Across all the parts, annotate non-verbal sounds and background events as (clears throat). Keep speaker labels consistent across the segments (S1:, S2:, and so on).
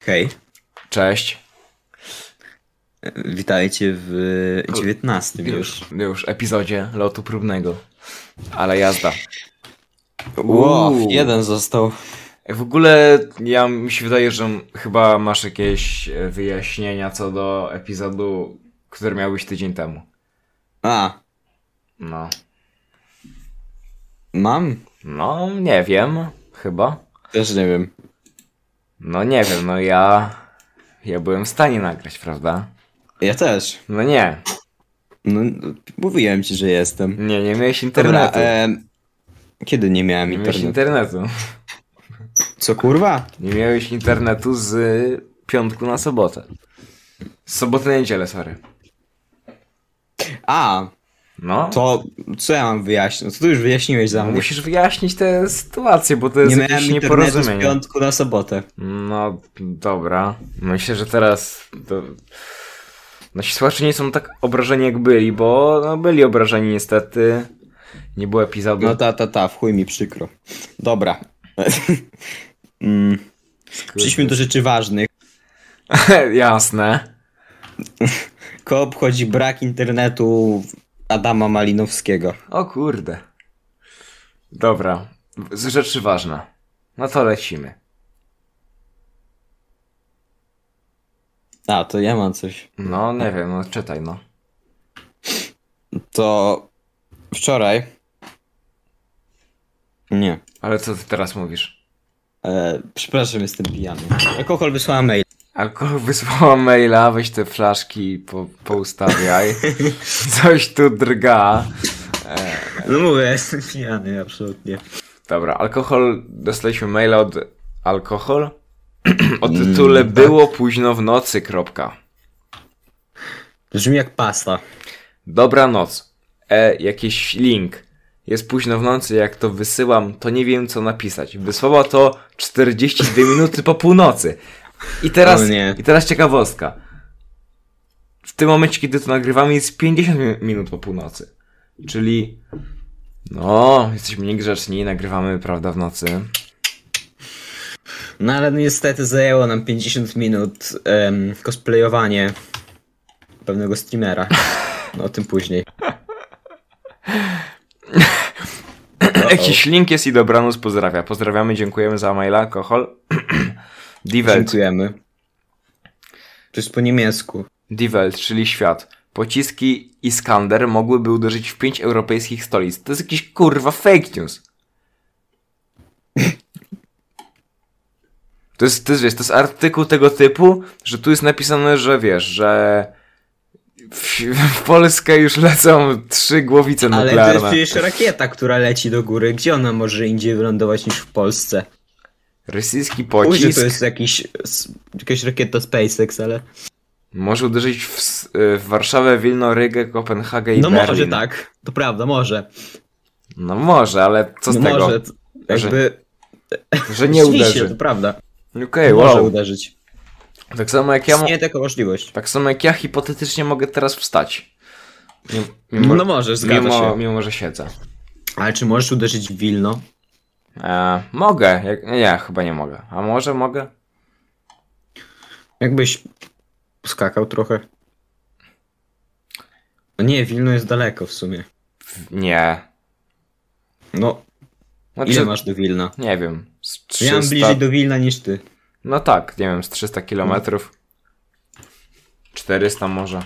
S1: Hej,
S2: Cześć.
S1: witajcie w 19 już.
S2: Już epizodzie lotu próbnego. Ale jazda.
S1: Wow,
S2: Uuu.
S1: jeden został.
S2: W ogóle ja mi się wydaje, że chyba masz jakieś e, wyjaśnienia co do epizodu, który miał być tydzień temu.
S1: A,
S2: No.
S1: mam?
S2: No, nie wiem, chyba.
S1: Też nie wiem.
S2: No nie wiem, no ja. Ja byłem w stanie nagrać, prawda?
S1: Ja też.
S2: No nie.
S1: No, mówiłem ci, że jestem.
S2: Nie, nie miałeś
S1: Dobra,
S2: internetu.
S1: em, kiedy nie miałem
S2: Nie miałeś
S1: internetu?
S2: internetu.
S1: Co kurwa?
S2: Nie miałeś internetu z piątku na sobotę. Z soboty na niedzielę, sorry.
S1: A,
S2: No.
S1: to co ja mam wyjaśnić? To ty już wyjaśniłeś za
S2: No,
S1: mnie.
S2: musisz wyjaśnić tę sytuację, bo to
S1: Nie
S2: jest
S1: miałem
S2: jakieś
S1: internetu z
S2: nieporozumienie.
S1: piątku na sobotę.
S2: No dobra. Myślę, że teraz to... nasi słuchacze nie są tak obrażeni jak byli, bo no, byli obrażeni niestety. Nie było epizodu.
S1: No ta, ta, ta, w chuj mi przykro. Dobra. (laughs) mm,
S2: Kurde.
S1: przejdźmy do rzeczy ważnych.
S2: (laughs) Jasne.
S1: Ko obchodzi brak internetu Adama Malinowskiego.
S2: O kurde. Dobra. Z rzeczy ważne. No to lecimy.
S1: A, to ja mam coś.
S2: No nie wiem, no czytaj no.
S1: To wczoraj. Nie.
S2: Ale co ty teraz mówisz?
S1: E, przepraszam, jestem pijany. Alkohol wysłała mail.
S2: Alkohol (laughs) wysłała maila, weź te flaszki po,
S1: (laughs)
S2: poustawiaj. Coś tu drga.
S1: No mówię, jestem pijany, absolutnie.
S2: Dobra, alkohol, dostaliśmy maila od alkohol (clears throat) o tytule
S1: Mm, tak.
S2: Było późno w nocy, kropka.
S1: Brzmi jak pasta.
S2: Dobra noc. E, jakiś link. Jest późno w nocy, jak to wysyłam, to nie wiem co napisać. Wysłała to 42 minuty po północy. I
S1: O
S2: teraz,
S1: nie.
S2: i teraz ciekawostka. W tym momencie, kiedy to nagrywamy, jest 50 mi- minut po północy. Czyli, no, jesteśmy niegrzeczni, nagrywamy, prawda, w nocy.
S1: No ale niestety zajęło nam 50 minut em, cosplayowanie pewnego streamera. No (laughs) o tym później.
S2: Jakiś link jest i dobranoc pozdrawia. Pozdrawiamy, dziękujemy za maila, alkohol. (clears throat) Die Welt.
S1: Dziękujemy. To jest po niemiecku.
S2: Die Welt, czyli świat. Pociski Iskander mogłyby uderzyć w pięć europejskich stolic. To jest jakiś kurwa fake news. To jest, to jest, wiesz, to jest artykuł tego typu, że tu jest napisane, że wiesz, że w, w Polskę już lecą trzy głowice
S1: Ale to jest
S2: nuklearne.
S1: przecież rakieta, która leci do góry. Gdzie ona może indziej wylądować niż w Polsce?
S2: Rosyjski
S1: Później
S2: pocisk
S1: to jest jakiś, s- jakaś rakieta SpaceX, ale.
S2: Może uderzyć w, S- y, w Warszawę, Wilno, Rygę, Kopenhagę i
S1: no
S2: Berlin.
S1: może tak, to prawda, może.
S2: No może, ale co z
S1: no
S2: tego,
S1: Może, t- jakby. (laughs)
S2: że nie
S1: Oczywiście,
S2: uderzy.
S1: To prawda.
S2: Okej,
S1: Może
S2: wow.
S1: uderzyć.
S2: Tak samo jak ja, mo-
S1: Istnieje taka możliwość.
S2: tak samo jak ja hipotetycznie mogę teraz wstać. Mimo-
S1: no możesz, zgadza
S2: mimo,
S1: się.
S2: mimo że siedzę.
S1: Ale czy możesz uderzyć w Wilno?
S2: E, mogę, jak, nie, chyba nie mogę. A może mogę?
S1: Jakbyś skakał trochę. No nie, Wilno jest daleko w sumie.
S2: W- Nie.
S1: No,
S2: Znaczy,
S1: ile masz do Wilna?
S2: Nie wiem. Z 300...
S1: Ja mam bliżej do Wilna niż ty.
S2: No tak, nie wiem, z 300 kilometrów. 400 może.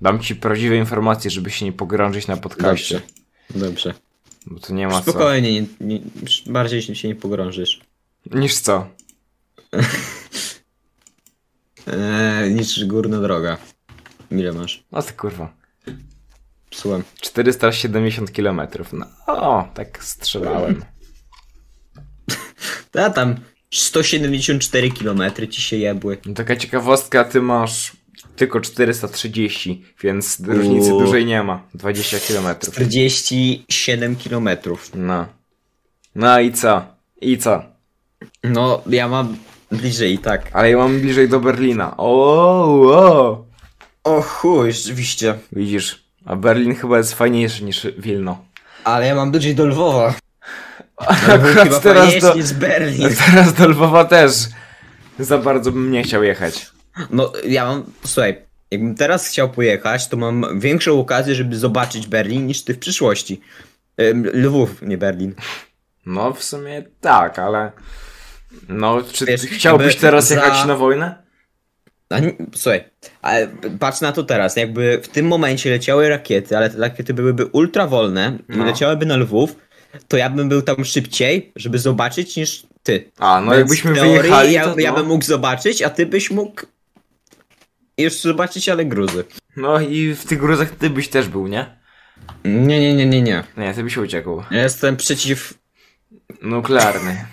S2: Dam ci prawdziwe informacje, żeby się nie pogrążyć na podcaście.
S1: Dobrze. No Dobrze.
S2: Bo to nie ma co.
S1: Spokojnie, nie, nie, bardziej się nie pogrążysz.
S2: Niż co?
S1: Eee, niż górna droga. Ile masz?
S2: No ty kurwa.
S1: Słucham.
S2: 470 kilometrów. No o, tak strzelałem.
S1: A tam 174 km ci się jebły.
S2: No, taka ciekawostka, ty masz tylko 430, więc różnicy
S1: Uuu.
S2: dużej nie ma. 20 kilometrów.
S1: 47 km.
S2: No. No i co? I co?
S1: No, ja mam bliżej, tak.
S2: Ale ja mam bliżej do Berlina. O, o.
S1: O chuj, rzeczywiście.
S2: Widzisz, a Berlin chyba jest fajniejszy niż Wilno.
S1: Ale ja mam bliżej do Lwowa. No,
S2: (laughs) Akurat teraz
S1: (laughs)
S2: do,
S1: jest Berlin.
S2: teraz do Lwowa też. Za bardzo bym nie chciał jechać.
S1: No ja mam, słuchaj, jakbym teraz chciał pojechać, to mam większą okazję, żeby zobaczyć Berlin niż ty w przyszłości. Em, Lwów, nie Berlin.
S2: No, w sumie tak, ale... No, czy
S1: Wiesz,
S2: chciałbyś
S1: jakby
S2: teraz
S1: za-
S2: jechać na wojnę?
S1: A, nie- słuchaj, ale patrz na to teraz, jakby w tym momencie leciały rakiety, ale te rakiety byłyby ultrawolne
S2: No.
S1: i leciałyby na Lwów, to ja bym był tam szybciej, żeby zobaczyć niż ty.
S2: A, no
S1: Więc
S2: jakbyśmy
S1: w teorii
S2: wyjechali,
S1: ja,
S2: to, no,
S1: ja bym mógł zobaczyć, a ty byś mógł jeszcze zobaczyć, ale gruzy.
S2: no i w tych gruzach ty byś też był, nie?
S1: Nie, nie, nie, nie, nie.
S2: Nie, ty byś uciekł.
S1: Ja jestem przeciw...
S2: Nuklearny. (laughs)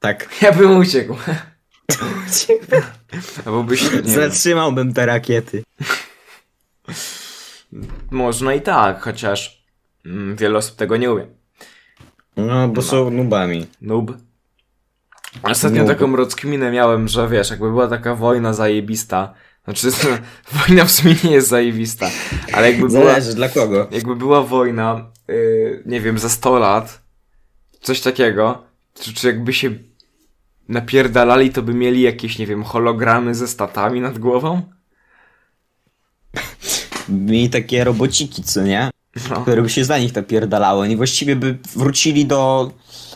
S1: Tak. (laughs)
S2: Ja bym uciekł. (laughs) Albo byś, nie wiem,
S1: Zatrzymałbym te rakiety.
S2: Można i tak, chociaż mm, wiele osób tego nie umie.
S1: No, bo są nubami.
S2: Noob. Ostatnio
S1: Noob.
S2: taką rozkminę miałem, że wiesz, jakby była taka wojna zajebista. Znaczy, (laughs) wojna w sumie nie jest zajebista, ale jakby była,
S1: Zależy dla kogo.
S2: jakby była wojna, yy, nie wiem, za 100 lat, coś takiego, czy, czy jakby się napierdalali, to by mieli jakieś, nie wiem, hologramy ze statami nad głową?
S1: Mieli takie robociki, co nie?
S2: No.
S1: Które by się za nich napierdalało. Oni właściwie by wrócili do...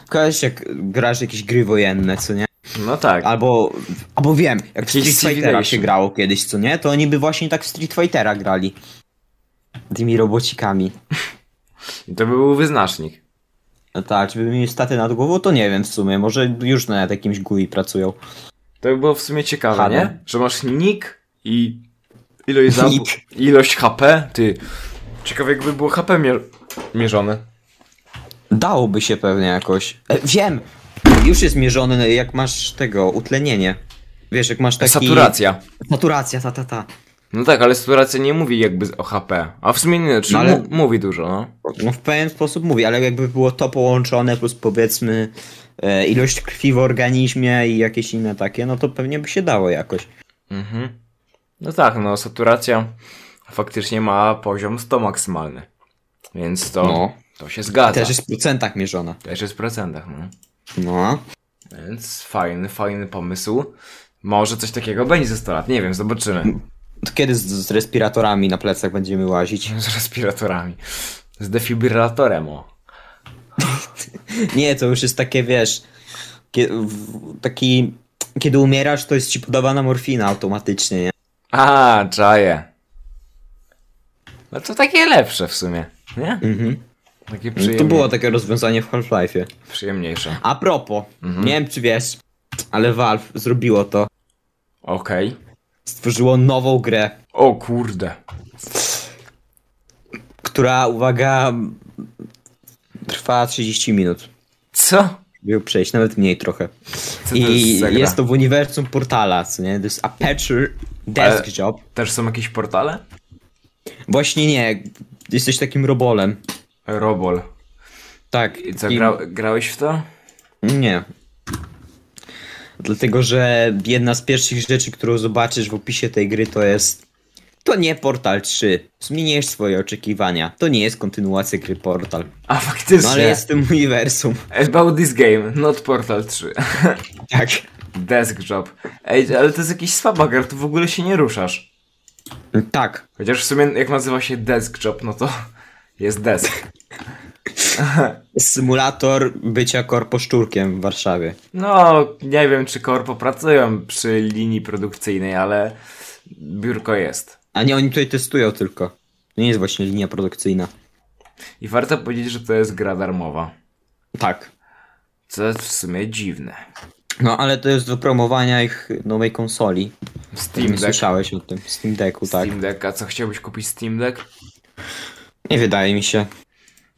S1: Kojarzysz jak grasz jakieś gry wojenne, co nie?
S2: no tak.
S1: Albo... Albo wiem, jak w Street
S2: Jakieś
S1: Fightera się
S2: Civilization.
S1: grało kiedyś, co nie? To oni by właśnie tak w Street Fightera grali. Tymi robocikami.
S2: I to by był wyznacznik.
S1: No tak, czy by mieli staty nad głową, to nie wiem w sumie. Może już nad jakimś GUI pracują.
S2: To by było w sumie ciekawe,
S1: Halo.
S2: nie? Że masz nick i ilość, zab-
S1: Nick.
S2: ilość HP, ty. Ciekawe jakby było HP mier- mierzone.
S1: Dałoby się pewnie jakoś. E, wiem! Już jest mierzony, jak masz tego, utlenienie. Wiesz, jak masz taki...
S2: Saturacja.
S1: Saturacja, ta, ta, ta.
S2: No tak, ale saturacja nie mówi jakby z- o HP. A w sumie nie, czy
S1: No ale-
S2: mu- mówi dużo, no.
S1: No w pewien sposób mówię, ale jakby było to połączone plus powiedzmy e, ilość krwi w organizmie i jakieś inne takie, no to pewnie by się dało jakoś.
S2: Mhm. No tak, no saturacja faktycznie ma poziom 100 maksymalny. Więc to,
S1: No.
S2: to się zgadza.
S1: Też jest w procentach mierzona.
S2: Też jest w procentach, no.
S1: No.
S2: Więc fajny, fajny pomysł. Może coś takiego będzie za 100 lat, nie wiem, zobaczymy.
S1: Mm. To kiedy z, z respiratorami na plecach będziemy łazić?
S2: (laughs) Z respiratorami. Z defibrylatorem, o.
S1: Nie, to już jest takie, wiesz, kie, w, taki... Kiedy umierasz, to jest ci podawana morfina automatycznie, nie?
S2: A, czaję. No to takie lepsze w sumie, nie?
S1: Mhm.
S2: Takie
S1: To
S2: przyjemnie,
S1: było takie rozwiązanie w Half-Life'ie.
S2: przyjemniejsze.
S1: A propos,
S2: Mhm.
S1: nie wiem czy wiesz, ale Valve zrobiło to.
S2: Okej.
S1: Stworzyło nową grę,
S2: O kurde.
S1: która, uwaga, trwa 30 minut.
S2: Co?
S1: Żeby ją przejść, nawet mniej trochę.
S2: Co to
S1: I
S2: jest za gra?
S1: jest to w uniwersum portala, co nie? To jest Aperture Desk
S2: Ale-
S1: Job.
S2: Też są jakieś portale?
S1: Właśnie nie, jesteś takim robolem.
S2: Robol.
S1: Tak.
S2: I co,
S1: takim-
S2: gra, grałeś w to?
S1: Nie. Dlatego, że jedna z pierwszych rzeczy, którą zobaczysz w opisie tej gry, to jest. To nie Portal 3. Zmieniłeś swoje oczekiwania. To nie jest kontynuacja gry Portal.
S2: A faktycznie.
S1: No ale jest w tym uniwersum.
S2: About this game, not Portal 3.
S1: Tak.
S2: (laughs) Desk job. Ej, ale to jest jakiś słaba gra, tu w ogóle się nie ruszasz.
S1: Tak.
S2: Chociaż w sumie jak nazywa się desk job, no to (laughs) jest desk.
S1: Symulator bycia korposzczurkiem w Warszawie.
S2: No, nie wiem czy korpo pracują przy linii produkcyjnej, ale biurko jest.
S1: A nie, oni tutaj testują tylko. To nie jest właśnie linia produkcyjna.
S2: I warto powiedzieć, że to jest gra darmowa.
S1: Tak.
S2: Co jest w sumie dziwne.
S1: No ale to jest do promowania ich nowej konsoli.
S2: Steam
S1: nie
S2: Deck.
S1: słyszałeś o tym. Steam Decku, tak.
S2: Steam Deck, a co chciałbyś kupić Steam Deck?
S1: Nie wydaje mi się.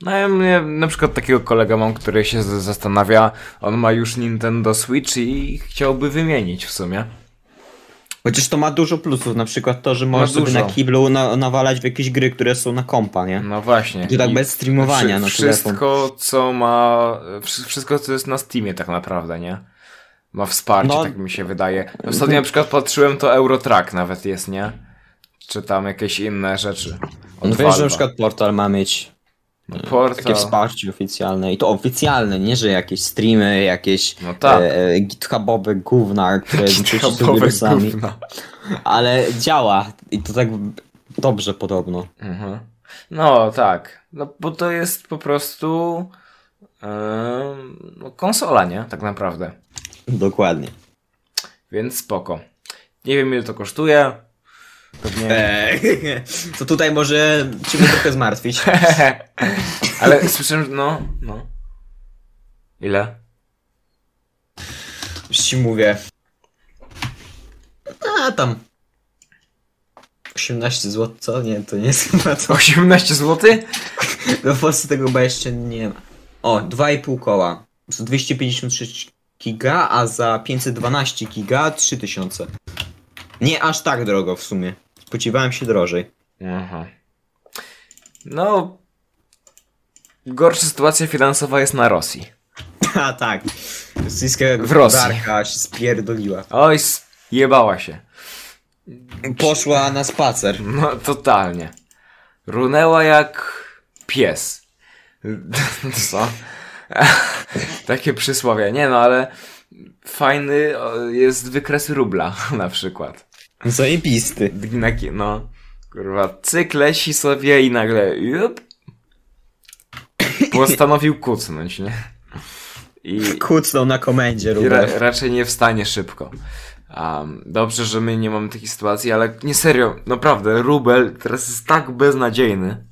S2: No ja mnie, na przykład takiego kolega mam, który się z- zastanawia, on ma już Nintendo Switch i chciałby wymienić w sumie.
S1: Chociaż to ma dużo plusów, na przykład to, że możesz sobie
S2: dużo.
S1: na kiblu na, nawalać w jakieś gry, które są na kompa, nie?
S2: No właśnie.
S1: Czy tak
S2: I
S1: bez streamowania
S2: wszy-
S1: na telefon.
S2: Wszystko, co ma. wszy- Wszystko, co jest na Steamie, tak naprawdę, nie? Ma wsparcie,
S1: No.
S2: tak mi się wydaje. Ostatnio na przykład patrzyłem, to Eurotrack nawet jest, nie? Czy tam jakieś inne rzeczy. od
S1: No wiesz, że
S2: Valve'a.
S1: na przykład Portal ma mieć
S2: No
S1: Takie
S2: portal.
S1: wsparcie oficjalne. I to oficjalne, nie że jakieś streamy, jakieś
S2: No tak.
S1: e, e, githubowe gówna,
S2: (laughs)
S1: które są
S2: Chabowe
S1: wirusami.
S2: gówna.
S1: Ale działa. I to tak dobrze podobno.
S2: Mhm. No tak, no bo to jest po prostu em, no, konsola, nie? Tak naprawdę.
S1: Dokładnie.
S2: Więc spoko. Nie wiem ile to kosztuje. Pewnie...
S1: Eee, (laughs) to tutaj może cię trochę
S2: (laughs)
S1: zmartwić.
S2: Ale słyszałem, że no, no. Ile?
S1: Już ci mówię. A tam. 18 zł, co? Nie, to nie jest chyba to.
S2: 18 zł?
S1: No w Polsce tego chyba jeszcze nie ma. O, 2,5 koła. Za 256 giga, a za 512 giga 3000. Nie aż tak drogo w sumie. Spodziewałem się drożej. (laughs)
S2: Aha. No. Gorsza sytuacja finansowa jest na Rosji.
S1: A tak. Rosyjska
S2: W Rosji.
S1: gospodarka się spierdoliła.
S2: Oj, s- jebała się.
S1: Poszła na spacer.
S2: No, totalnie. Runęła jak pies. (laughs) Co? (laughs) Takie przysłowie. Nie no, ale fajny o, jest wykres rubla (laughs) na przykład.
S1: Zajebisty.
S2: Na ki- No, kurwa, cyk leci sobie i nagle jup, postanowił kucnąć, nie? I,
S1: Kucnął na komendzie
S2: i ra-
S1: rubel.
S2: raczej nie wstanie szybko. Um, dobrze, że my nie mamy takiej sytuacji, ale nie serio, naprawdę, rubel teraz jest tak beznadziejny.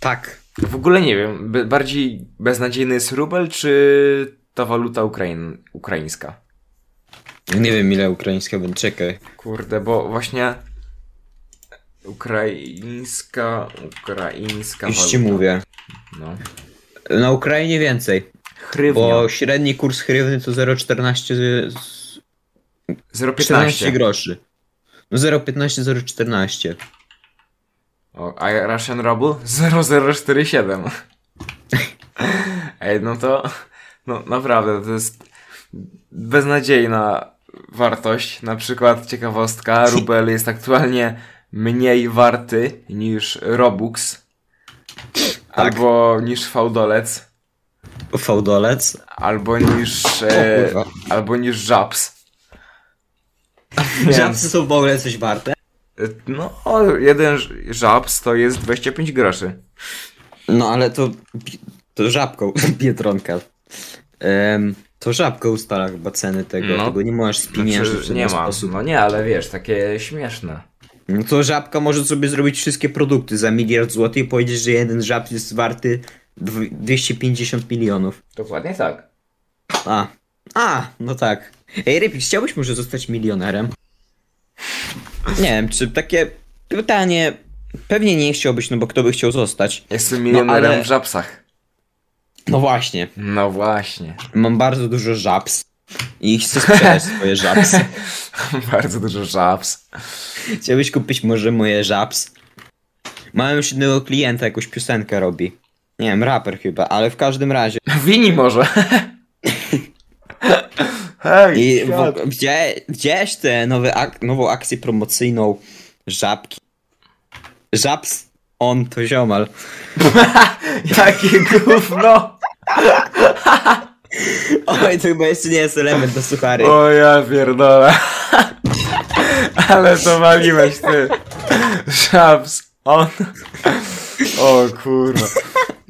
S1: Tak.
S2: W ogóle nie wiem, be- bardziej beznadziejny jest rubel, czy ta waluta Ukrain- ukraińska?
S1: Nie wiem ile ukraińska będzie. Czekaj.
S2: Kurde, bo właśnie ukraińska, ukraińska
S1: Już
S2: waluta.
S1: ci mówię.
S2: No.
S1: Na Ukrainie więcej.
S2: Hrywnia.
S1: Bo średni kurs hrywny to 0,14 z- z- 14
S2: 0,15.
S1: groszy. No 0,15, 0,14.
S2: O, a Russian Rubble? 0047. Ej, no to... No naprawdę, to jest beznadziejna wartość. Na przykład
S1: (laughs)
S2: ciekawostka, rubel jest aktualnie mniej warty niż Robux.
S1: Tak.
S2: Albo niż fałdolec.
S1: Fałdolec.
S2: Albo niż...
S1: O
S2: E,
S1: kurwa.
S2: albo niż
S1: (laughs)
S2: żabs. Więc-
S1: Żabcy są w ogóle coś warte.
S2: e, No, jeden ż- żabs to jest 25 groszy.
S1: No ale to, to żabką, (laughs) Biedronka. Em, to żabka ustala chyba ceny tego,
S2: No.
S1: tego nie możesz spieniężyć w
S2: Znaczy,
S1: żaden
S2: nie ma.
S1: sposób.
S2: No nie, ale wiesz, takie śmieszne.
S1: No to żabka może sobie zrobić wszystkie produkty za miliard złotych i powiedzieć, że jeden żab jest warty dw- 250 milionów.
S2: Dokładnie tak.
S1: A, a, no tak. Ej, Rypik, chciałbyś może zostać milionerem? Nie wiem, czy takie pytanie... Pewnie nie chciałbyś, no bo kto by chciał zostać?
S2: Jestem
S1: milionerem
S2: milionerem
S1: ale-
S2: w żabsach.
S1: No właśnie,
S2: No (laughs) właśnie.
S1: mam bardzo dużo żabs i chcę sprzedać swoje żabsy.
S2: Bardzo dużo żabs.
S1: Chciałbyś kupić może moje żabs? Mam już innego klienta, jakąś piosenkę robi. Nie wiem, raper chyba, ale w każdym razie.
S2: Wini może. (laughs) Hej,
S1: I
S2: świat.
S1: w, gdzie, gdzieś tę nowe ak- nową akcję promocyjną żabki. Żabs on to ziomal.
S2: jakie gówno.
S1: (laughs) Oj, to chyba jeszcze nie jest element do suchary.
S2: O ja pierdolę. (laughs) Ale to waliłeś ty. Żabs. On. O kurwa.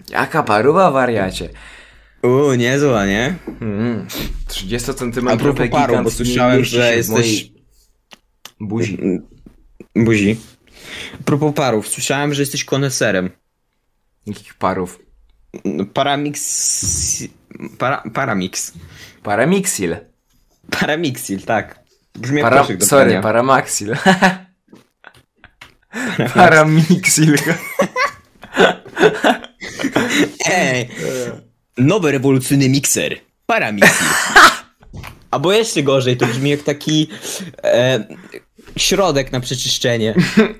S2: Jaka paruba wariacie.
S1: Uuu, niezła, nie?
S2: Mm. 30 cm
S1: A propos paru, bo słyszałem, że jesteś-
S2: Buzi.
S1: Buzi. A propos parów, słyszałem, że jesteś koneserem. No,
S2: Jakich parów?
S1: Paramix... Para, paramix.
S2: Paramixil.
S1: Paramixil, tak. Brzmi jak
S2: Para...
S1: koszyk do
S2: Sorry,
S1: prania. (laughs)
S2: paramaxil. (laughs) Paramixil.
S1: Ej, E. nowy rewolucyjny mikser. Paramixi. (laughs) Albo jeszcze gorzej, to brzmi jak taki e, środek na przeczyszczenie.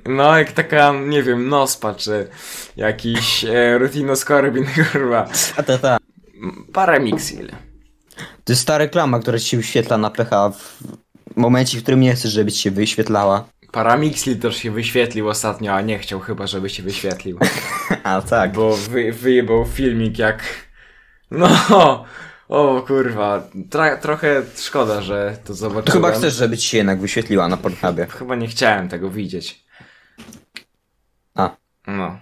S2: No, jak taka, nie wiem, nospa, czy jakiś e, rutinoskorbin, (laughs) kurwa.
S1: A ta, ta.
S2: Paramixil.
S1: To jest ta reklama, która ci się wyświetla na PH w momencie, w którym nie chcesz, żeby ci się wyświetlała.
S2: Paramixli też się wyświetlił ostatnio, a nie chciał chyba, żeby się wyświetlił.
S1: (laughs) A tak.
S2: Bo wy, wyjebał filmik jak... No! O kurwa, Tra, trochę szkoda, że to
S1: To
S2: zobaczyłem.
S1: chyba chcesz, żeby ci się jednak wyświetliła na Pornhubie.
S2: Chyba nie chciałem tego widzieć.
S1: A.
S2: No.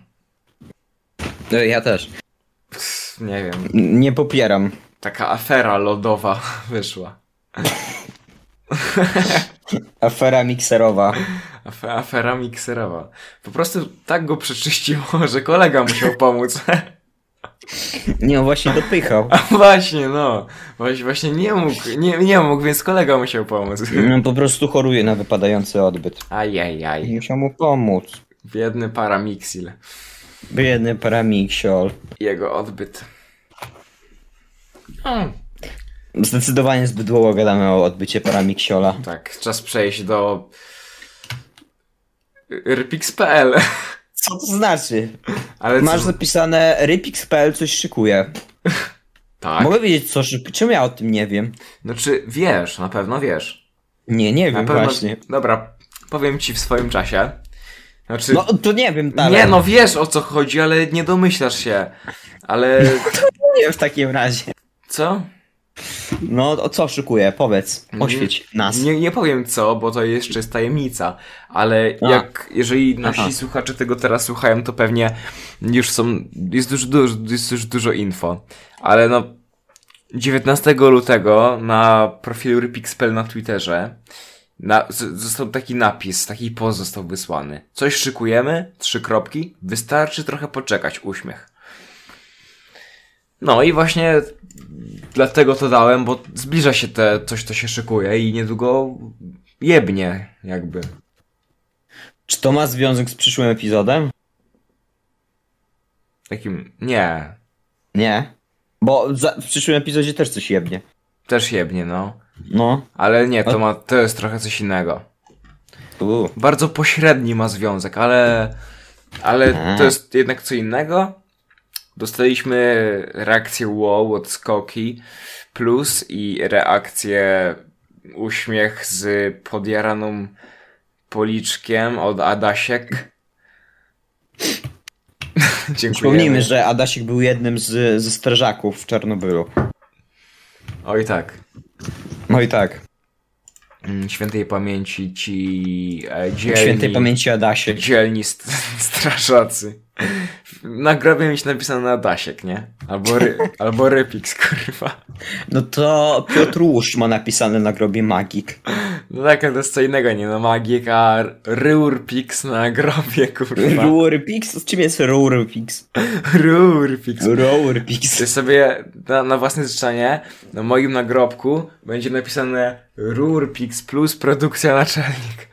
S1: E, Ja też.
S2: Pff, nie wiem.
S1: N- Nie popieram.
S2: Taka afera lodowa (laughs) wyszła.
S1: Afera mikserowa.
S2: Afe- Afera mikserowa. Po prostu tak go przeczyściło, (laughs) że kolega musiał pomóc. (laughs)
S1: Nie, on właśnie dopychał.
S2: A właśnie, no. Właśnie, właśnie nie mógł, nie, nie mógł, więc kolega musiał
S1: (laughs)
S2: pomóc.
S1: On po prostu choruje na wypadający odbyt.
S2: Ajajaj.
S1: Musiał mu pomóc.
S2: Biedny paramixil.
S1: Biedny paramiksiol.
S2: Jego odbyt. O,
S1: Zdecydowanie zbyt długo gadamy o odbycie paramiksiola.
S2: tak, czas przejść do... Rypix.pl
S1: Co to znaczy?
S2: Ale
S1: Masz
S2: co?
S1: zapisane rypix.pl coś szykuje.
S2: Tak.
S1: Mogę wiedzieć co szykuje? Czemu ja o tym nie wiem?
S2: No czy wiesz, na pewno wiesz.
S1: Nie, nie
S2: Na
S1: wiem
S2: pewno...
S1: właśnie.
S2: Dobra, powiem ci w swoim czasie. Znaczy...
S1: No to nie wiem dalej.
S2: Nie no, wiesz o co chodzi, ale nie domyślasz się. Ale...
S1: (laughs) Nie w takim razie.
S2: Co?
S1: No o co szykuje? Powiedz. Oświeć nas.
S2: Nie, nie powiem co, bo to jeszcze jest tajemnica, ale
S1: A.
S2: jak, jeżeli nasi
S1: Aha.
S2: słuchacze tego teraz słuchają, to pewnie już są, jest już, dużo, jest już dużo info, ale no 19 lutego na profilu Rypixpel na Twitterze na, z- został taki napis, taki post został wysłany. Coś szykujemy, trzy kropki, wystarczy trochę poczekać, uśmiech. No i właśnie dlatego to dałem, bo zbliża się te coś, co się szykuje i niedługo jebnie jakby.
S1: Czy to ma związek z przyszłym epizodem?
S2: Takim, nie,
S1: Nie. Bo za, w przyszłym epizodzie też coś jebnie.
S2: też jebnie, no.
S1: No.
S2: Ale nie, to, ma, to jest trochę coś innego.
S1: U.
S2: Bardzo pośredni ma związek, ale, ale to jest jednak co innego. Dostaliśmy reakcję wow od Skoki plus i reakcję uśmiech z podjaraną policzkiem od Adasiek. (laughs) Dziękujemy.
S1: Przypomnijmy, że Adasik był jednym z, ze strażaków w Czarnobylu.
S2: Oj tak.
S1: No i tak.
S2: Mm, Świętej pamięci ci e, dzielni,
S1: Świętej pamięci Adasiek.
S2: dzielni st- (laughs) strażacy. Na grobie mieć napisane na Dasiek, nie?
S1: (laughs)
S2: Albo, ry- albo Rypix, kurwa.
S1: No to Piotrusz ma napisane na grobie magik.
S2: No tak, to jest co innego, nie? No magik, a Rurpix na grobie, kurwa.
S1: Rurpix? Z czym jest Rurpix?
S2: Rurpix.
S1: Rurpix.
S2: Ty sobie na, na własne życzenie, na moim nagrobku będzie napisane Rurpix plus produkcja naczelnik.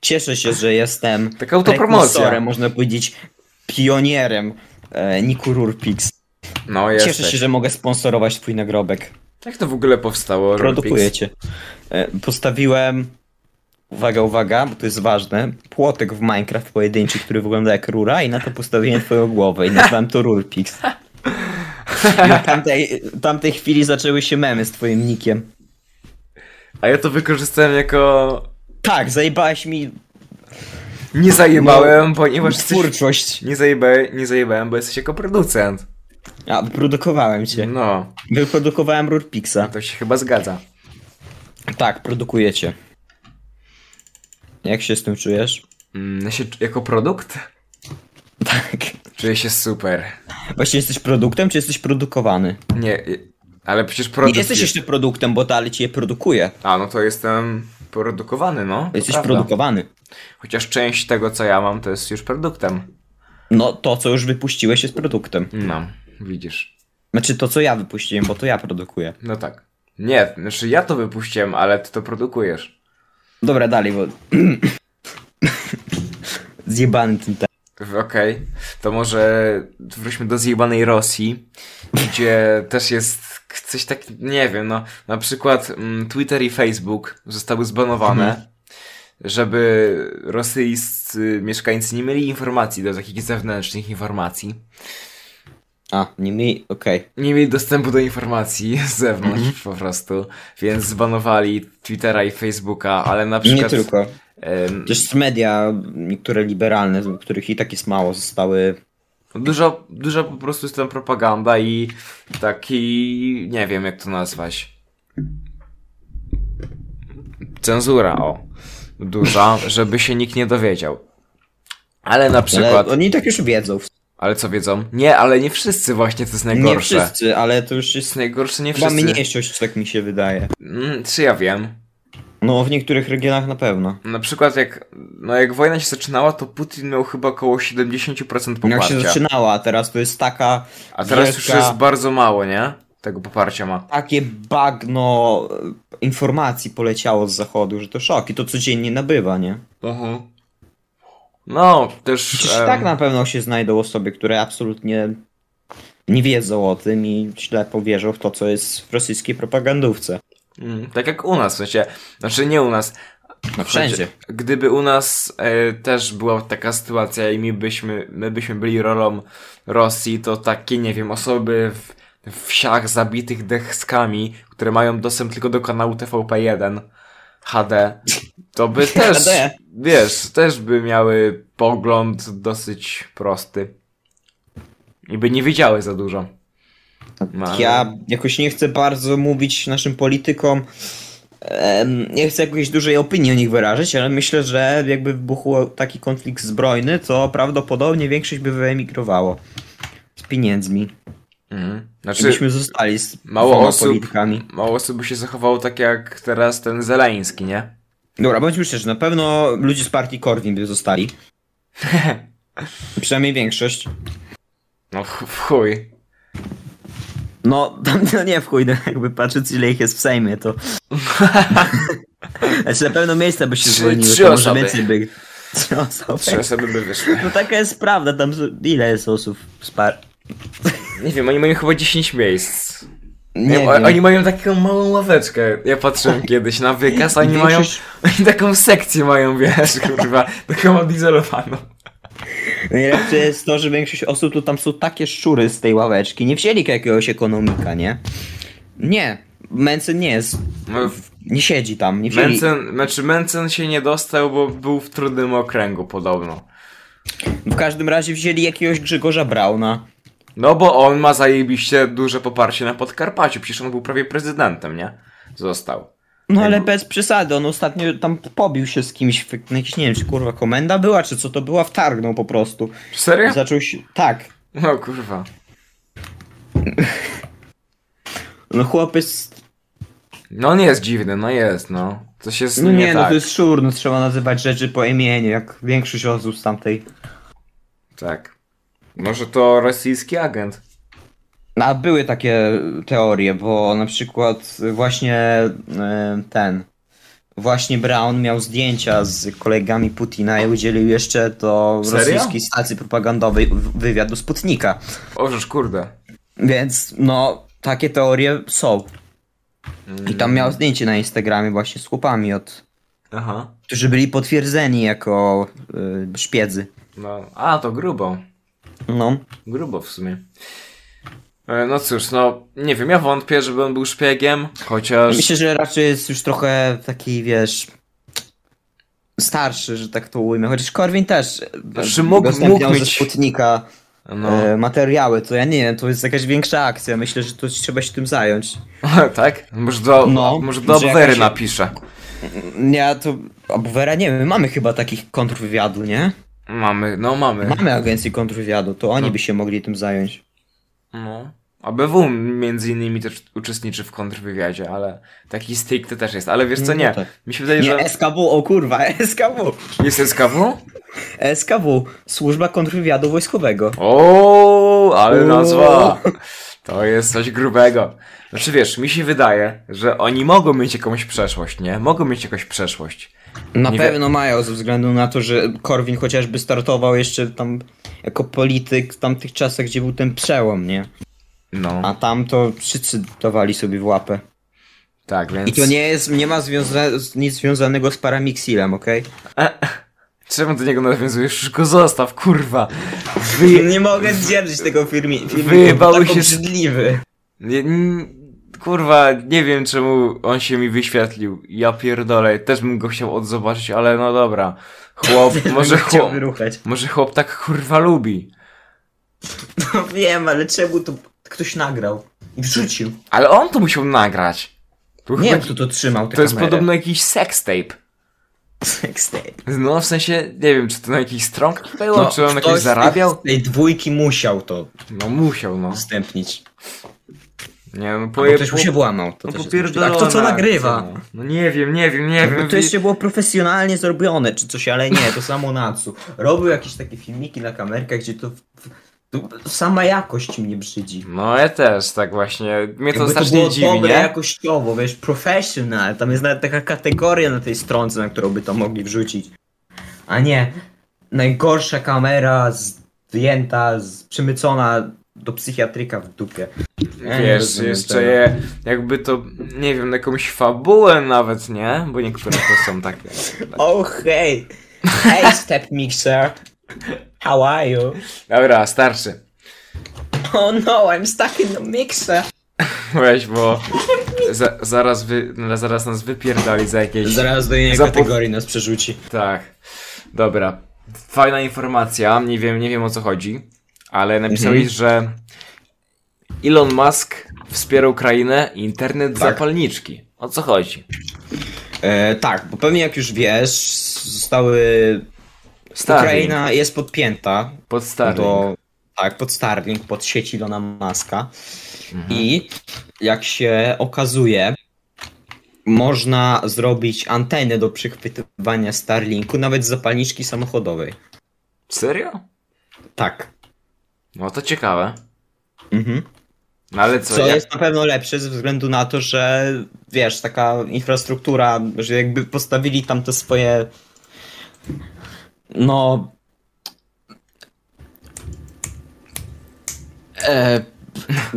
S1: Cieszę się, że jestem
S2: Taka autopromocja.
S1: prekursorem, można powiedzieć pionierem e, Niku Rurpix.
S2: No
S1: Cieszę
S2: jesteś.
S1: się, że mogę sponsorować twój nagrobek.
S2: Jak to w ogóle powstało?
S1: Produkuję
S2: Rurpix?
S1: cię. E, Postawiłem. Uwaga, uwaga, bo to jest ważne. Płotek w Minecraft pojedynczy, który wygląda jak rura, i na to postawiłem twoją głowę i nazwałem to Rurpix. I od tamtej, tamtej chwili zaczęły się memy z twoim nikiem.
S2: A ja to wykorzystałem jako
S1: Tak, zajebałeś mi
S2: Nie
S1: No,
S2: zajebałem, ponieważ jesteś...
S1: twórczość.
S2: Nie, zajeba... nie zajebałem, bo jesteś jako producent.
S1: A, produkowałem cię.
S2: No,
S1: Wyprodukowałem Rurpixa.
S2: to się chyba zgadza.
S1: Tak, produkujecie. Jak się z tym czujesz? (laughs)
S2: Mm, ja się... Jako produkt?
S1: Tak.
S2: Czuję się super.
S1: Właśnie jesteś produktem, czy jesteś produkowany?
S2: Nie, i- ale przecież produkt...
S1: Nie jesteś
S2: jest-
S1: jeszcze produktem, bo dalej cię produkuje.
S2: A, no to jestem produkowany, no. to
S1: Jesteś
S2: prawda.
S1: produkowany.
S2: Chociaż część tego, co ja mam, to jest już produktem.
S1: No to, co już wypuściłeś, jest produktem.
S2: No, widzisz.
S1: Znaczy to, co ja wypuściłem, bo to ja produkuję.
S2: No tak. Nie, znaczy ja to wypuściłem, ale ty to produkujesz.
S1: Dobra, dalej, bo... (coughs) Zjebany ten temat.
S2: Okej, to może wróćmy do zjebanej Rosji,
S1: (laughs)
S2: gdzie też jest k- coś tak, nie wiem, no na przykład mm, Twitter i Facebook zostały zbanowane,
S1: Mhm.
S2: żeby rosyjscy mieszkańcy nie mieli informacji do takich zewnętrznych informacji.
S1: A, nie mi, okej.
S2: nie mieli dostępu do informacji z zewnątrz
S1: Mhm.
S2: po prostu, więc zbanowali Twittera i Facebooka, ale na
S1: Nie
S2: przykład...
S1: tylko.
S2: em,
S1: Też media, niektóre liberalne, z których i tak jest mało, zostały...
S2: dużo, dużo po prostu jest tam propaganda i taki... nie wiem jak to nazwać. Cenzura, o. Duża, (laughs) żeby się nikt nie dowiedział. Ale na
S1: Ale
S2: przykład...
S1: oni tak już wiedzą.
S2: Ale co wiedzą? Nie, ale nie wszyscy właśnie, to jest najgorsze.
S1: Nie wszyscy, ale to już
S2: To
S1: jest
S2: jest najgorsze, nie
S1: chyba
S2: wszyscy.
S1: mniejszość, tak mi się wydaje.
S2: Mm, czy ja wiem?
S1: No, w niektórych regionach na pewno.
S2: Na przykład jak, no jak wojna się zaczynała, to Putin miał chyba około 70%
S1: Jak
S2: poparcia.
S1: się zaczynała, a teraz to jest taka...
S2: A teraz już
S1: wielka-
S2: jest bardzo mało, nie? Tego poparcia ma.
S1: takie bagno e, informacji poleciało z zachodu, że to szok i to codziennie nabywa, nie?
S2: No, też...
S1: Przecież
S2: em,
S1: tak na pewno się znajdą osoby, które absolutnie nie wiedzą o tym i ślepo wierzą w to, co jest w rosyjskiej propagandówce.
S2: mm, tak jak u nas, w sensie... Znaczy nie u nas.
S1: No wszędzie.
S2: Gdyby u nas e, też była taka sytuacja i my byśmy, my byśmy byli rolą Rosji, to takie, nie wiem, osoby w, w wsiach zabitych dechskami, które mają dostęp tylko do kanału TVP1 HD,
S1: (laughs)
S2: to by też,
S1: HD.
S2: wiesz, też by miały pogląd dosyć prosty. I by nie wiedziały za dużo. No, ale-
S1: Ja jakoś nie chcę bardzo mówić naszym politykom, em, nie chcę jakiejś dużej opinii o nich wyrażać, ale myślę, że jakby wybuchł taki konflikt zbrojny, to prawdopodobnie większość by wyemigrowało z pieniędzmi.
S2: Mhm. Znaczy...
S1: Gdybyśmy zostali z
S2: Mało
S1: dwoma
S2: osób-
S1: politykami.
S2: Mało osób by się zachowało tak jak teraz ten Zeleński, nie?
S1: Dobra, bądźmy szczerzy, na pewno ludzie z partii Korwin by
S2: (laughs)
S1: zostali. Przynajmniej większość.
S2: No ch- w chuj.
S1: No, tam no nie w chuj, no, jakby patrzeć ile ich jest w Sejmie,
S2: (laughs)
S1: to... znaczy na pewno miejsca by się
S2: Trzy-
S1: zwolniły,
S2: trzy
S1: to może
S2: osoby.
S1: więcej by... Trzy osoby.
S2: Trzy osoby by wyszły.
S1: No taka jest prawda, tam z- ile jest osób z par...
S2: Nie wiem, oni mają chyba 10 miejsc.
S1: Nie
S2: o- Oni mają taką małą ławeczkę. Ja
S1: (laughs)
S2: patrzyłem kiedyś na wykaz, a oni mają.
S1: Większość-
S2: (laughs) Oni taką sekcję mają, wiesz, kurwa, taką odizolowaną.
S1: Najlepsze jest to, że większość osób to tam są takie szczury z tej ławeczki. Nie wzięli jakiegoś ekonomika, nie? Nie. Mencen nie jest.
S2: No,
S1: Nie siedzi tam. Nie wzięli.
S2: Mencen, znaczy Mencen się nie dostał, bo był w trudnym okręgu podobno.
S1: W każdym razie wzięli jakiegoś Grzegorza Brauna.
S2: No bo on ma zajebiście duże poparcie na Podkarpaciu, przecież on był prawie prezydentem, nie? Został.
S1: No ale bez przesady, on ostatnio tam pobił się z kimś, w, na jakiś, nie wiem, czy kurwa komenda była, czy co to była, wtargnął po prostu.
S2: Serio?
S1: Zaczął się, tak.
S2: No kurwa.
S1: No chłop jest,
S2: No on jest dziwny, no jest, no. Coś jest
S1: no
S2: nie,
S1: nie, no
S2: tak.
S1: to jest szur, no trzeba nazywać rzeczy po imieniu, jak większość osób z tamtej.
S2: Tak. Może to rosyjski agent.
S1: A były takie teorie, bo na przykład właśnie e, ten, właśnie Brown miał zdjęcia z kolegami Putina i udzielił jeszcze do
S2: Serio?
S1: rosyjskiej stacji propagandowej w- wywiadu Sputnika.
S2: Ożeż kurde.
S1: Więc no, takie teorie są.
S2: Mm.
S1: I tam miał zdjęcie na Instagramie właśnie z chłopami, od,
S2: Aha.
S1: którzy byli potwierdzeni jako y, szpiedzy.
S2: No, a to grubo.
S1: No,
S2: Grubo w sumie. E, No cóż, no nie wiem, ja wątpię, żeby on był szpiegiem, chociaż...
S1: myślę, że raczej jest już trochę taki, wiesz, starszy, że tak to ujmę. Chociaż Korwin też e,
S2: Znaczy mógł-
S1: udostępniał
S2: mógł
S1: ze
S2: być-
S1: Sputnika
S2: No, (laughs)
S1: e, materiały, to ja nie wiem, to jest jakaś większa akcja. Myślę, że to trzeba się tym zająć.
S2: tak? Może do,
S1: No,
S2: może do
S1: że
S2: Obwery
S1: jakaś-
S2: napisze.
S1: Ja to... Obwera, nie wiem, mamy chyba takich kontrwywiadu, nie?
S2: Mamy, no mamy.
S1: Mamy agencję kontrwywiadu, to oni
S2: No.
S1: by się mogli tym zająć.
S2: No. ABW między innymi też uczestniczy w kontrwywiadzie, ale taki stricte też jest. Ale wiesz co,
S1: No
S2: nie.
S1: tak.
S2: Mi się wydaje,
S1: Nie,
S2: że...
S1: SKW, o kurwa, (laughs) SKW.
S2: Jest SKW?
S1: SKW, Służba Kontrwywiadu Wojskowego.
S2: O, ale
S1: O.
S2: nazwa! To jest coś grubego. Znaczy wiesz, mi się wydaje, że oni mogą mieć jakąś przeszłość, nie? Mogą mieć jakąś przeszłość.
S1: Na
S2: Nie
S1: pewno mają, ze względu na to, że Korwin chociażby startował jeszcze tam jako polityk w tamtych czasach, gdzie był ten przełom, nie?
S2: No,
S1: A tam to wszyscy dawali sobie w łapę.
S2: tak, więc...
S1: I to nie jest, nie ma związa- nic związanego z paramixilem, okej?
S2: E, czemu do niego nawiązujesz? Już go zostaw, kurwa. Wy...
S1: Nie mogę zdzierżyć tego firmi. filmiku,
S2: Wyjebało
S1: tak
S2: się-
S1: obrzydliwy.
S2: Nie- n- Kurwa, nie wiem czemu on się mi wyświetlił. Ja pierdolę, też bym go chciał odzobaczyć, ale no dobra.
S1: (laughs)
S2: Chłop, może chłop,
S1: chciał wyruchać. (laughs)
S2: może chłop tak kurwa lubi.
S1: No wiem, ale czemu to ktoś nagrał i wrzucił?
S2: Ale on to musiał nagrać. To,
S1: Nie wiem,
S2: chyba-
S1: kto to trzymał. Te
S2: to jest
S1: kamery. (laughs)
S2: podobno jakiś sextape.
S1: Sextape.
S2: No w sensie, nie wiem, czy to na jakichś stronkach było,
S1: No,
S2: czy on
S1: ktoś
S2: jakoś
S1: z
S2: zarabiał.
S1: tych- tej dwójki musiał to
S2: No musiał, no.
S1: udostępnić.
S2: Nie, no
S1: Albo
S2: poje...
S1: ktoś mu się włamał. To
S2: no,
S1: też jest
S2: popierdolona
S1: możliwe. A kto co
S2: akcja,
S1: nagrywa?
S2: No. no nie wiem, nie wiem, nie
S1: Jakby
S2: wiem.
S1: to jeszcze było profesjonalnie zrobione, czy coś, ale nie, to samo Natsu. Robił jakieś takie filmiki na kamerkach, gdzie to, to sama jakość mnie brzydzi.
S2: No ja też, tak właśnie. Mnie
S1: Jakby
S2: to
S1: to
S2: strasznie
S1: było
S2: dziwi,
S1: dobre
S2: nie?
S1: jakościowo, wiesz, professional, tam jest nawet taka kategoria na tej stronce, na którą by to mogli wrzucić. A nie, najgorsza kamera zdjęta, z, przymycona do psychiatryka w dupie. Ja nie
S2: Wiesz,
S1: rozumiem
S2: jeszcze
S1: tego.
S2: je, jakby to, nie wiem, na jakąś fabułę nawet, nie? Bo niektóre to są takie.
S1: Oh, hej! Hej, step mixer! How are you? (laughs)
S2: Dobra, starszy.
S1: Oh no, I'm stuck in the mixer!
S2: Weź, bo za, zaraz, wy, no, zaraz nas wypierdali za jakieś...
S1: Zaraz do innej
S2: Zapo-
S1: kategorii nas przerzuci.
S2: Tak. Dobra. Fajna informacja, nie wiem, nie wiem o co chodzi, ale napisałeś,
S1: Mhm.
S2: że Elon Musk wspierał Ukrainę i internet
S1: Tak.
S2: zapalniczki. O co chodzi?
S1: E, tak, bo pewnie jak już wiesz, zostały...
S2: Starlink.
S1: Ukraina jest podpięta
S2: Pod Starlink.
S1: do... Tak, pod Starlink, pod sieć Ilona Maska. I jak się okazuje, można zrobić antenę do przychwytywania Starlinku nawet z zapalniczki samochodowej.
S2: Serio?
S1: Tak.
S2: No to ciekawe.
S1: Mhm.
S2: No ale co,
S1: Co
S2: jak-
S1: jest na pewno lepsze ze względu na to, że wiesz, taka infrastruktura, że jakby postawili tam te swoje. No. E,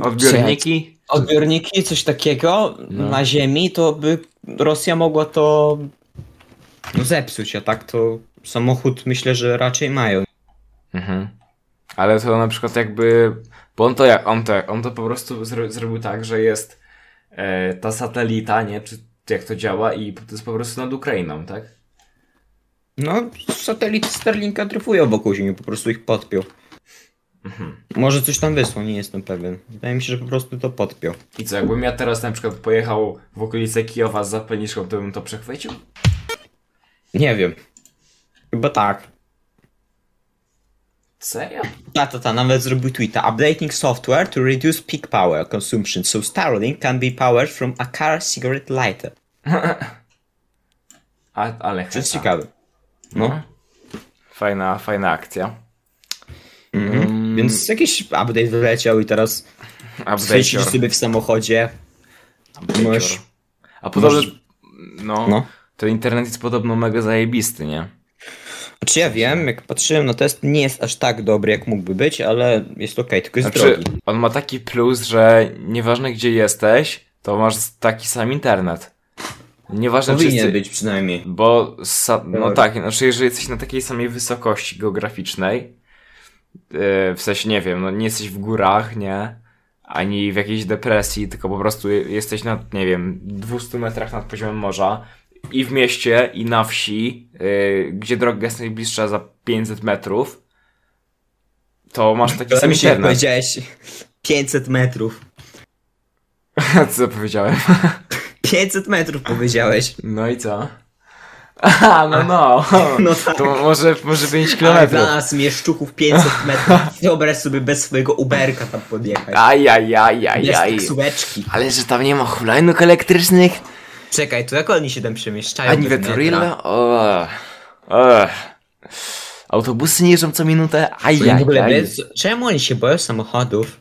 S2: Odbiorniki?
S1: odbiorniki, coś takiego
S2: No.
S1: na ziemi, to by Rosja mogła to no, zepsuć, a tak to samochód myślę, że raczej mają.
S2: Mhm. Ale to na przykład jakby. Bo on to jak? On to, on to po prostu zro, zrobił tak, że jest e, ta satelita, nie? Czy jak to działa i to jest po prostu nad Ukrainą, tak?
S1: No, satelity Starlinka dryfują wokół Ziemi, po prostu ich podpiął.
S2: Mhm.
S1: Może coś tam wysłał, nie jestem pewien. Wydaje mi się, że po prostu to podpiął.
S2: I co, jakbym ja teraz na przykład pojechał w okolice Kijowa z zapalniczką, to bym to przechwycił?
S1: Nie wiem. Chyba tak.
S2: Serio?
S1: Ta, ta, ta, nawet zrobił tweeta. Updating software to reduce peak power consumption, so Starlink can be powered from a car cigarette lighter.
S2: A, ale
S1: To jest
S2: heta.
S1: ciekawe.
S2: Mhm.
S1: No.
S2: Fajna, fajna akcja.
S1: Mhm. Więc jakiś update wyleciał i teraz świecisz
S2: Update'or.
S1: sobie w samochodzie. Masz-
S2: Update'or. A podobno...
S1: Masz-
S2: No,
S1: No.
S2: To internet jest podobno mega zajebisty, nie?
S1: Znaczy ja wiem, jak patrzyłem na test, nie jest aż tak dobry jak mógłby być, ale jest okej, tylko jest
S2: Znaczy,
S1: drogi.
S2: on ma taki plus, że nieważne gdzie jesteś, to masz taki sam internet. Nieważne czy
S1: Powinien
S2: jesteś...
S1: być przynajmniej.
S2: Bo, sa... no
S1: Dobra.
S2: tak, znaczy jeżeli jesteś na takiej samej wysokości geograficznej, yy, w sensie nie wiem, no nie jesteś w górach, nie? Ani w jakiejś depresji, tylko po prostu je- jesteś na, nie wiem, 200 metrach nad poziomem morza i w mieście, i na wsi, yy, gdzie droga jest najbliższa za 500 metrów, to masz taki
S1: Sam
S2: sam
S1: Tak mi się jak
S2: internet.
S1: powiedziałeś 500 metrów.
S2: (laughs) Co powiedziałem?
S1: 500 metrów powiedziałeś.
S2: No i co? (laughs) Aha, no no.
S1: (laughs) No tak.
S2: To może, może 5
S1: Ale dla
S2: kilometrów.
S1: nas mieszczuchów 500
S2: (laughs)
S1: metrów. Wyobraź sobie bez swojego Uberka tam podjechać.
S2: Aj, aj, aj, aj,
S1: Bez
S2: aj.
S1: taksóweczki.
S2: Ale że tam nie ma hulajnóg elektrycznych?
S1: Czekaj, to jak oni się tam przemieszczają?
S2: Ani
S1: bez metra?
S2: Veturilla? O. o. Autobusy nie jeżdżą co minutę? Aj,
S1: Oni w
S2: aj,
S1: ogóle
S2: aj.
S1: wiedzą- Czemu oni się boją samochodów?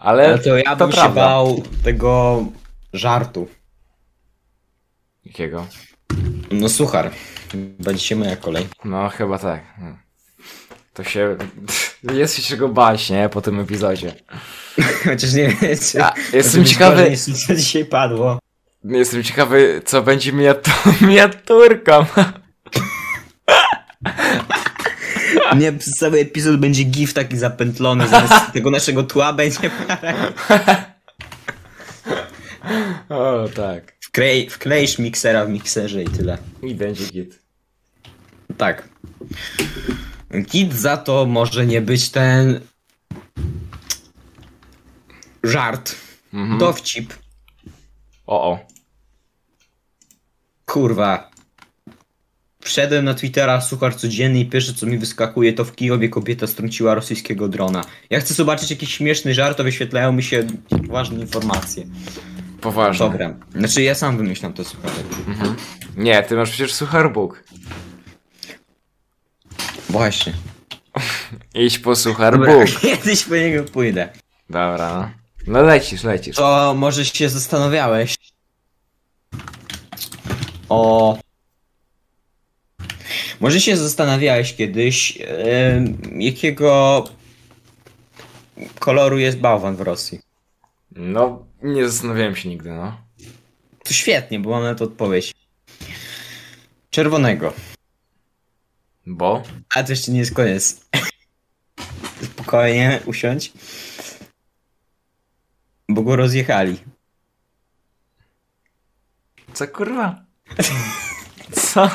S2: Ale
S1: No to ja
S2: E, to
S1: bym się
S2: prawda.
S1: bał tego żartu.
S2: Jakiego?
S1: No suchar. Będzie się moja kolej. (laughs)
S2: No chyba tak. Hmm. To się... Jest się czego bać, nie? Po tym epizodzie.
S1: Chociaż nie wiecie.
S2: A, jestem ciekawy-
S1: Co dzisiaj padło.
S2: Jestem ciekawy, co będzie (laughs) miniatu- miniaturką.
S1: Nie, przez cały epizod będzie gif taki zapętlony,
S2: (laughs)
S1: zamiast tego naszego tła będzie (laughs) parę.
S2: O, tak.
S1: Wklej, wkleisz miksera w mikserze i tyle.
S2: I będzie git.
S1: Tak. Git za to może nie być ten... Żart. Dowcip.
S2: Mhm. O, o.
S1: Kurwa. Wszedłem na Twittera, suchar codzienny i pierwsze co mi wyskakuje to w Kijowie kobieta strąciła rosyjskiego drona. Ja chcę zobaczyć jakiś śmieszny żart, a wyświetlają mi się ważne informacje.
S2: Poważnie.
S1: Dobra. Znaczy ja sam wymyślam to słuchaj.
S2: Nie, ty masz przecież sucharbuk.
S1: Właśnie.
S2: Idź po
S1: Dobra, (laughs)
S2: sucharbuk.
S1: kiedyś po niego pójdę.
S2: Dobra, no. No lecisz, lecisz.
S1: To może się zastanawiałeś o. Może się zastanawiałeś kiedyś, em, jakiego koloru jest bałwan w Rosji?
S2: No, nie zastanawiałem się nigdy, no.
S1: To świetnie, bo mam na to odpowiedź. Czerwonego.
S2: Bo?
S1: A to jeszcze nie jest koniec. (laughs) Spokojnie, usiądź. Bo go rozjechali.
S2: (laughs) Co kurwa? Co?